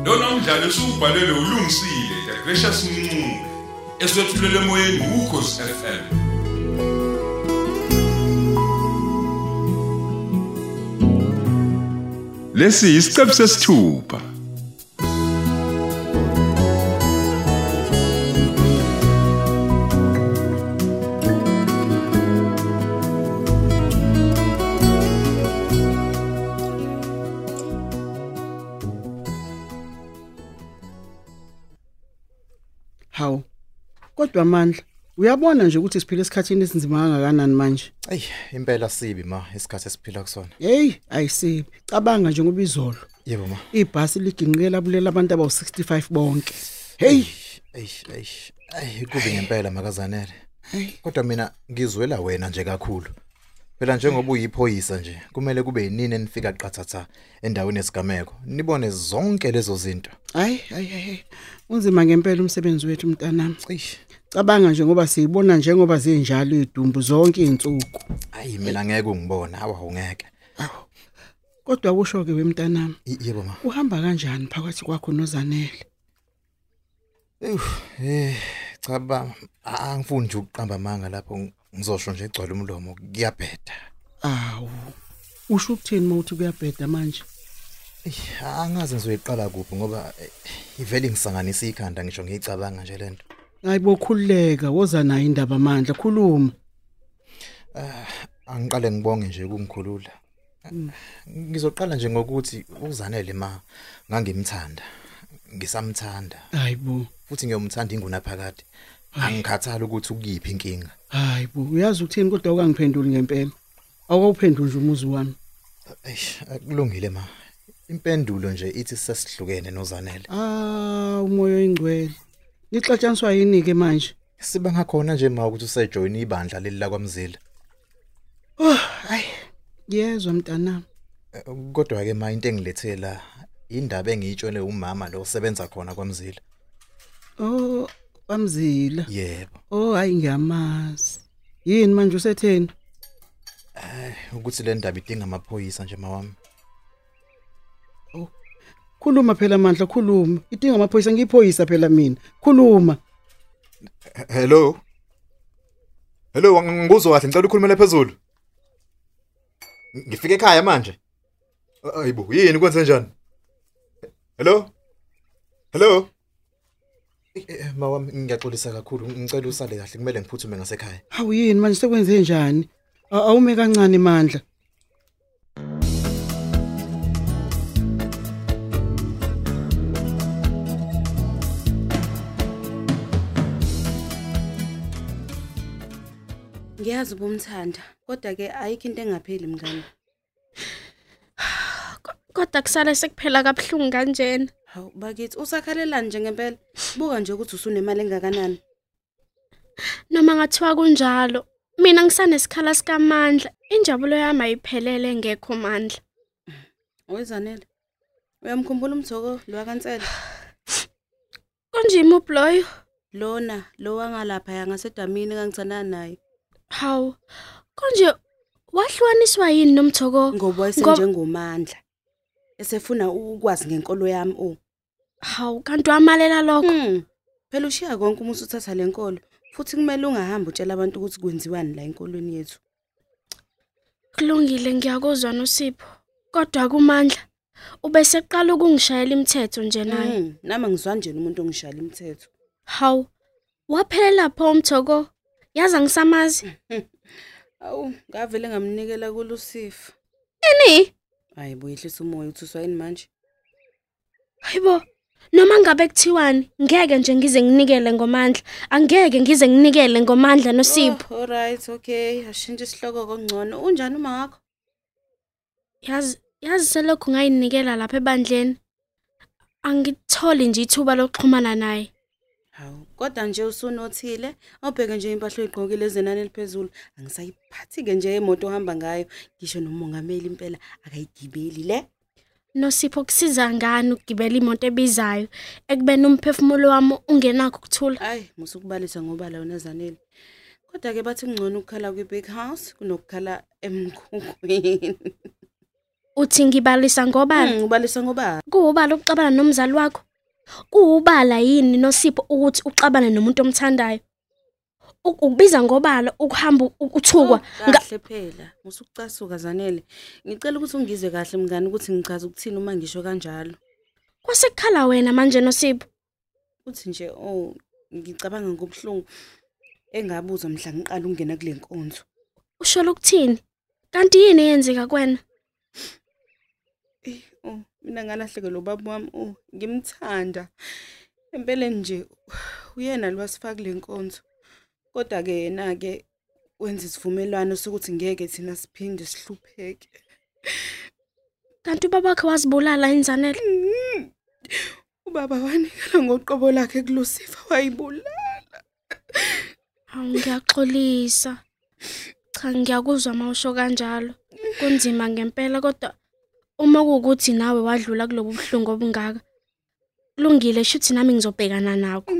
umdlalo esubhalelwe ulungisile the gracious mncube eswetshulele emoyeni ukhosi FM Lesi isiqephu sesithupha Hawu. Kodwa amandla, uyabona nje ukuthi siphila esikhathini esinzima kangakanani manje. Ey, impela sibi ma isikhathi esiphila kusona. Hey, ayisibi. Cabanga nje ngoba izolo Yebo ma. ibhasi liginqikela bulela abantu abawu65 bonke. Hey, Ey, ey. Ey, kube ngempela makazanele. Kodwa mina ngizwela wena nje kakhulu. Phela njengoba uyiphoyisa nje, kumele kube yinini enifika qathatha endaweni esigameko. Nibone zonke lezo zinto. ay ay ay. Unzima ngempela umsebenzi wethu mntanami. Eish. Cabanga nje ngoba siyibona njengoba zinjalo idumbu zonke izinsuku. Ayi mina ngeke ungibone, hawa ungeke. Kodwa kusho ke wemntanami, Y- Yebo ma. uhamba kanjani phakathi kwakho nozanele? Eh, cha ba, angifuni nje ukuqamba amanga lapho ng- ngizosho nje egcwala umlomo kuyabheda. Awu. Usho ukuthini mawuthi kuyabheda manje? Eish, angazi ngizoyiqala kuphi ngoba eh, ivele ngisanganisa ikhanda ngisho ngiyicabanga nje lento. Ayibokhululeka woza nayo indaba amandla khuluma. angiqale ngibonge nje ukungikhulula ngizoqala nje ngokuthi uzanele ma ngangimthanda ngisamthanda Hayibo. futhi ngiyomthanda ingunaphakade angikhathali ukuthi ukuyiphi inkinga Hayi bo, uyazi ukuthini kodwa ukangiphenduli ngempela. Awukawuphenduli nje umuzi wami. eish kulungile ma impendulo nje ithi sesihlukene nozanele Ah, umoya oyingcwele. Nixatshaniswa yini ke manje? siba ngakhona nje ma ukuthi usejoyina ibandla leli lakwamzila Oh, hayi. Yezwa mntanami. Eh, kodwa ke ma into engilethe la indaba engiyitshele umama lo osebenza khona kwamzila Oh, bamzila. yebo Oh, hayi ngiyamazi. Yini manje usetheni? ukuthi le ndaba idinga amaphoyisa nje mawami Khuluma phela amandla, khuluma. Idinga amaphoyisa ngiyiphoyisa phela mina. Khuluma. Hello. Hello, angikuzwa kahle, ngicela ukukhulumela phezulu. Ngifike ekhaya manje. Ayibo, yini kwenze njani? Hello? Hello? Eh, Mawami ngiyaxolisa kakhulu, ngicela usale kahle, kumele ngiphuthume ngasekhaya. Hawu yini manje sekwenze njani? A- Awume kancane mandla. Ngiyazi ubumthanda, kodwa ke ayikho into engapheli mngane. kodwa kusale sekuphela kabuhlungu kanjena Hawu bakithi usakhalelani nje ngempela? Buka nje ukuthi usunemali engakanani. noma ngathiwa kunjalo mina ngisanesikhala sikamandla injabulo yami ayiphelele ngekho mandla Oyizanele. Uyamkhumbula umthoko lo wakansela? konje imuphi loyo Lona lo wangalapha yangasedamini kangithandana naye. hawu konje wahlukaniswa yini nomthoko Ngoba Ngob- esenjengomandla. Esefuna ukwazi ngenkolo yami o. hawu kanti wamalela lokho Hmm. Phela ushiya konke umuntu uthatha lenkolo. Futhi kumele ungahamba utshela abantu ukuthi kwenziwani la enkolweni yethu. kulungile ngiyakuzwa nosipho kodwa kumandla ubeseqala ukungishayela imithetho nje naye Mm, Nami ngizwa nje umuntu ongishala imithetho. hawu waphelela pho umthoko yaza ngisamazi Awu, ngavele ngamnikela kuLucifer. ini Hayi buyehlisa umoya uthuswa yini manje? Hayibo, noma ngabe kuthiwani, ngeke nje ngize nginikele ngomandla, angeke ngize nginikele ngomandla noSipho. Oh, alright, okay. Ashintshe isihloko kongcono. Unjani uma wakho? Yazi, yazi selokhu ngayinikela lapha ebandleni. Angitholi nje ithuba lokuxhumana naye. Hawu, kodwa nje usunothile, obheke nje impahla oyigqokile ezenani eliphezulu. Angisayiphathi ke nje emoto ohamba ngayo. Ngisho nomongameli impela akayigibeli le. NoSipho kusiza ngani ukugibela imoto ebizayo ekubeni umphefumulo wami ungenakho ukuthula? Hayi, musukubalisa ngoba la wona zanele. Kodwa ke bathi ngcono ukukhala kwi-big house kunokukhala emkhukwini. Uthi ngibalisa ngobani? Hmm, Ubalisa ngoba Kuwuba lokuxabana nomzali wakho. kuwubala yini noSipho ukuthi uxabane nomuntu omthandayo Uk- ukubiza ngobala ukuhamba u- Oh, uthukwa Nga- kahle phela musukucasuka zanele ngicela ukuthi ungizwe kahle mngani ukuthi ngichaza ukuthini uma ngisho kanjalo kwasekukhala wena manje noSipho uthi nje oh ngicabanga ngobuhlungu engabuzwa mhla ngiqala ukungena kule nkonzo usho lokuthini kanti yini eyenzeka kwena oh mina ngalahlekelwa ubaba wami oh ngimthanda empeleni nje uyena lwasifaka kule nkonzo kodwa ke yena ke wenza isivumelwano sokuthi ngeke thina siphinde sihlupheke kanti ubabakhe wazibulala inzanele ubaba wanikela ngoqobo lakhe kulusifa wayibulala awu ngiyaxolisa cha ngiyakuzwa mawusho kanjalo kunzima ngempela kodwa uma kuwukuthi nawe wadlula kulobu buhlungu obungaka kulungile shuthi nami ngizobhekana nakho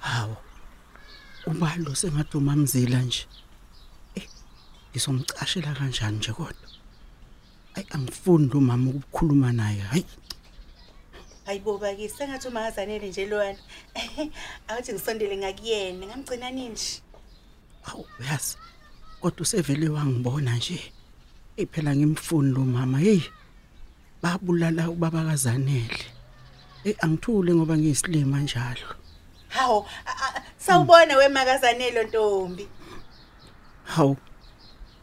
hawo ubalo sengaduma mzila nje Eh, ngizomcashela kanjani nje kodwa ayi angifuni lo mama ukukhuluma naye hayi hayi boba ke sengathi umangazanele nje lwana awuthi ngisondele ngakuyena ngamgcina nini nje awu uyazi kodwa usevele wangibona nje eyi phela ngimfuni lo mama heyi babulala ubaba kazanele eyi angithule ngoba ngiyisilima njalo hawu a- a- sawubona wemakazanelo ntombi hawu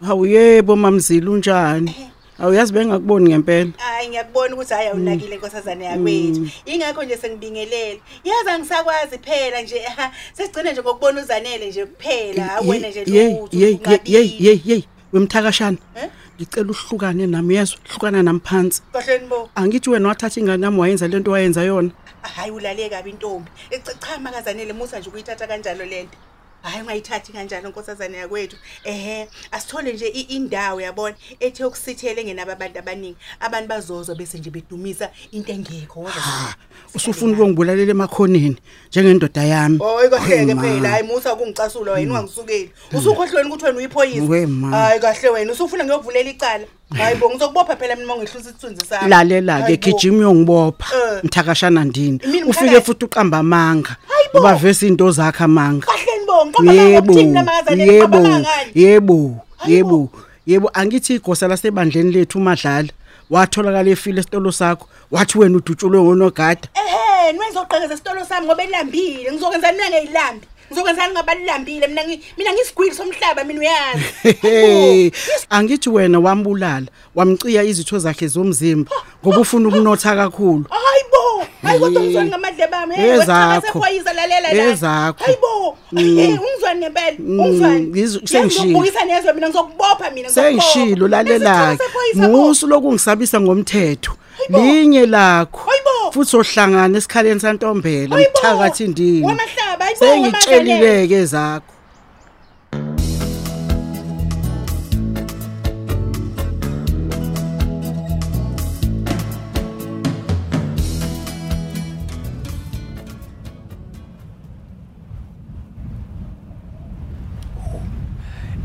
hawu yebo mamzila unjani Eh. awuyazi bengakuboni ngempela hayi ngiyakubona ukuthi hhayi awunakile inkosazane yakwethu yingakho nje sengibingelele yazi angisakwazi phela nje ha, sesigcine nje ngokubona uzanele nje kuphela hawu wena nje lutho unqabile. yeyi yeyi wemthakashana Eh? ngicela uhlukane nami yezwa hlukana nami phansi kohlweni bo angithi wena wathatha ingane yami wayenza lento wayenza yona hayi ulale kabi intombi E, cha- cha makazanele musa nje ukuyithatha kanjalo lento hayi ungayithathi kanjalo nkosazane yakwethu ehe asithole nje i- indawo yabona ethe yokusithela engenabo abantu abaningi abantu bazozwa bese nje bedumisa into engekho wozwa usufuna ukungibulalela emakhoneni njengendoda yami oyi kahleke Hey, ma. Oh, phela hayi musa ukungicasula wena ungangisukeli usukhohlweni ukuthi wena We, uyiphoyisa ma. hayi kahle wena usufuna ngiyovulela icala hayi bo ngizokubopha phela mina uma ngihlusa isithunzi sami lalela-ke Hayi bo. gijima uyongibopha Eh. mthakashana ndini Mina ufike umthakathi? futhi uqamba amanga Hayi bo. ngoba vese iy'nto zakhe amanga kahleni bo ngiqamba ngokuthini namakazanele yebo ngiqamba ngani yebo Hayi yebo yebo angithi igosa lasebandleni lethu umadlala watholakala efile esitolo sakho wathi wena udutshulwe ngonogada ehe niwe ngizogqekeza isitolo sami ngoba elambile ngizokwenzani mina ngeyilambi ngizokwenzani ngaba lilambile mina ngi- mina ngisigwili somhlaba mina uyazi Hey, angithi wena wambulala wamciya izitho zakhe zomzimba ngoba ufuna ukunotha kakhulu hayi bo Oh, hayi kodwa Hey. ungizwani ngamadle bami Ezakho. sephoyisa lalela la Ezakho. hayi bo Mm. Eh, ungizwani nempela Mm, ungizwani ngiz- Yazi sengishilo. ngizokubukisa nezwe mina ngizokubopha mina sengishilo lalelake musu musu lokungisabisa ngomthetho linye lakho Hayibo. futhi ohlangana esikhaleni santombela Hayibo. mthakathi ndini wamahlaba hayi bo, wamaZanele. sengitshelileke zakho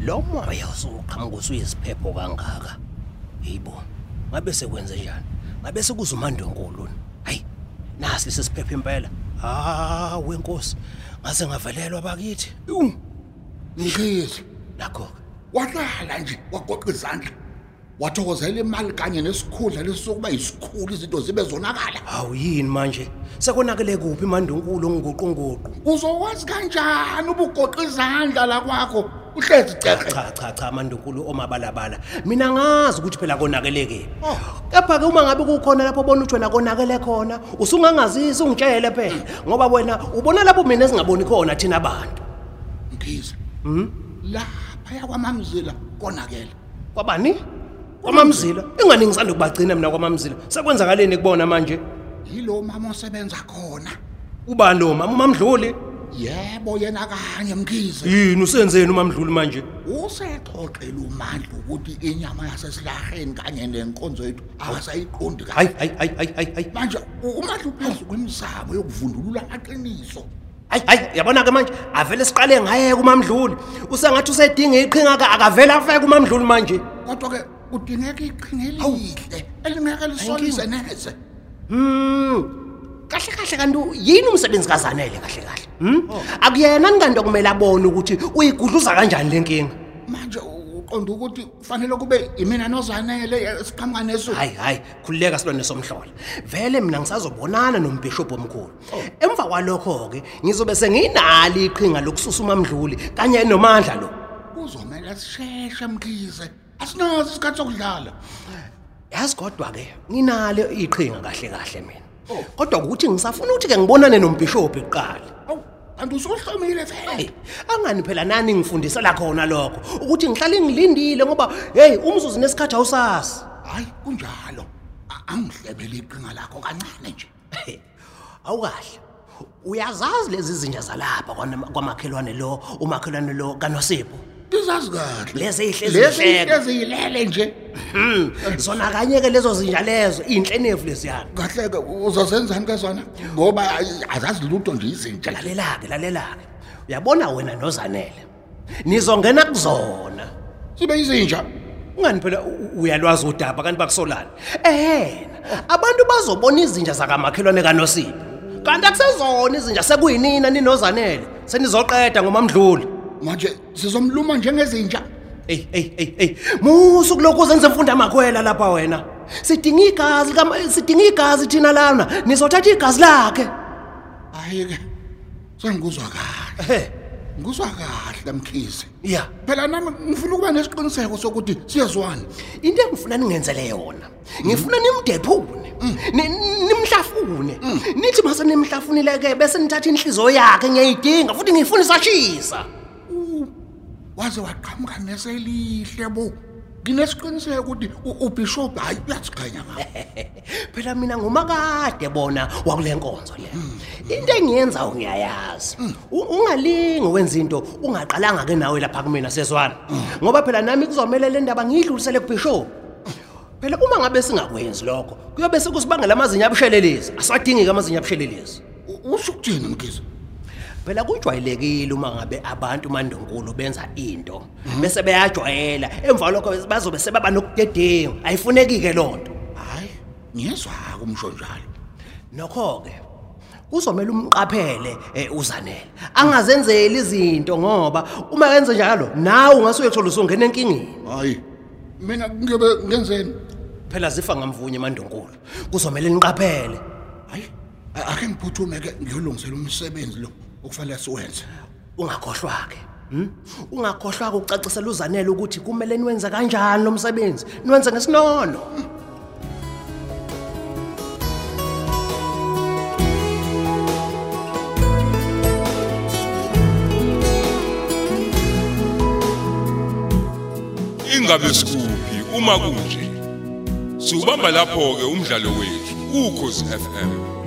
lo moya usuqhamuka usuyiziphepho kangaka yibo ngabe sekwenze njani ngabe sekuza umandonkuluni hayi nasi lesi siphepho impela hawe nkosi ngase ngavelelwa bakithi Iwu, Mkhize nakho-ke walala nje wagoqa izandla wathokozela imali kanye nesikhundla lesi sokuba yisikhulu izinto zibe zonakala hawu yini Ah manje sekonakele kuphi imandonkulu onguguqunguqu uzokwazi kanjani ubugoqa izandla la kwakho uhlezi ceqe cha cha cha amandunkulu omabalabala mina ngazi ukuthi phela konakeleke Oh. kepha-ke uma ngabe kukhona lapho obona ukuthi wena konakele khona usungangazisi ungitshele phela ngoba wena ubona lapho mina esingaboni khona thina Hmm? abantu mkhize laphaya kwamamzila konakela kwabani kwamamzila ingani ngisanda kubagcina mina kwamamzila sekwenzakaleni kubona manje yilo mama osebenza khona ubani lo mama umamdluli yebo yena kanye mkhize yini usenzeni umamdluli manje usexoxela umandla ukuthi inyama yasesilarheni kanye nenkonzo yethu akasayiqondi kahle hayi hayi hayi hayi hayi hayi manje umandla uphezu kwemizamo yokuvundulula amaqiniso hayi hayi yabona ke manje avele siqale ngayeka umamdluli usengathi usedinga iqhinga ka akavele afeke umamdluli manje kodwa ke kudingeka iqhinga elihle elingeke lisolise neze kahle kahle kanti yini umsebenzi kazanele kahle kahle hm Oh. akuyena nikanti okumele abone ukuthi uyigudluza kanjani lenkinga manje uqonda ukuthi kufanele kube imina nozanele siqhamuka nesu hayi hayi khululeka silwane somhlola vele mina ngisazobonana nombhishobhi omkhulu emva kwalokho-ke ngizobe senginalo iqhinga lokususa umamdluli kanye nomandla lo kuzomele sisheshe mkhize asinaso isikhathi sokudlala yazi kodwa-ke nginalo iqhinga kahle kahle mina kodwa ukuthi ngisafuna ukuthi-ke ngibonane nombhishobhi kuqala awu kanti usuhlomile Hey, vele angani phela nani ngifundisela khona lokho ukuthi ngihlale ngilindile ngoba hey umzuzu nesikhathi awusazi hayi kunjalo A- angihlebele iqhinga lakho kancane nje Hey, awukahle uyazazi lezi zinja zalapha kwana- kwamakhelwane lo umakhelwane lo kanosipho ngizazi kahle lezi ezihlezi lezi zihleka eziyilele nje zona kanye ke lezo zinja lezo inhlenevu leziyana kahle-ke uzozenzani ke zona ngoba ayi- azazi lutho nje izintsha lalela-ke lalela-ke uyabona wena nozanele nizongena kuzona sibe izinja ungani phela u- u- uyalwazi udaba kanti bakusolani ehena abantu bazobona izinja zakamakhelwane kanosipho kanti akusezona izinja sekuyinina ninozanele senizoqeda ngomamdluli manje sizomluma njengezinja eyi eyi eyi eyi musu kulokhu uzenze mfunda amakhwela lapha wena sidinga igazi likama- sidinga igazi thina lana nizothatha igazi lakhe hhayi-ke sengikuzwa kahle ehe ngikuzwa kahle mkhize ya phela nami ngifuna ukuba nesiqiniseko sokuthi siyezwana into engifuna ningenzele yona ngifuna nimdephune ni- nimhlafune nithi mase nimhlafunile-ke bese nithatha inhliziyo yakhe ngiyayidinga futhi ngiyifuna isashisa waze waqhamuka neselihle bo nginesiqiniseko ukuthi u- ubhishobhi hhayi uyasiqhenya ngabo phela mina ngumakade bona wakule nkonzo le into engiyenzayo ngiyayazi U- ungalingi wenza into ungaqalanga-ke nawe lapha kumina sezwana ngoba phela nami kuzomele le ndaba ngiyidlulisele kubhishophu phela uma ngabe singakwenzi lokho kuyobe sekusibangela amazinyo abushelelezi asiwadingi-ke amazinyo abushelelezi U- usho ukuthini mkhize phela kujwayelekile uma ngabe abantu mandunkulu benza into bese beyajwayela emva lokho bazobe sebaba nokudedengu ayifuneki-ke loo nto hhayi ngiyezwa-ke umsho njalo nokho-ke kuzomele umqaphele um uzanele angazenzeli izinto ngoba uma kenze njalo nawe ungasuyethola usungena enkingeni hhayi mina ngiyobe ngenzeni phela zifa ngamvunye mandunkulu kuzomele niqaphele hhayi a- akhe ngiphuthume-ke ngiyolungisela umsebenzi lo okufanele siwenze ungakhohlwa-ke Hmm? ungakhohlwa-ke ukucacisela uzanele ukuthi kumele niwenze kanjani lo msebenzi niwenze ngesinono ingabe sikuphi uma kunje siubamba lapho-ke umdlalo wethu ukhozi f m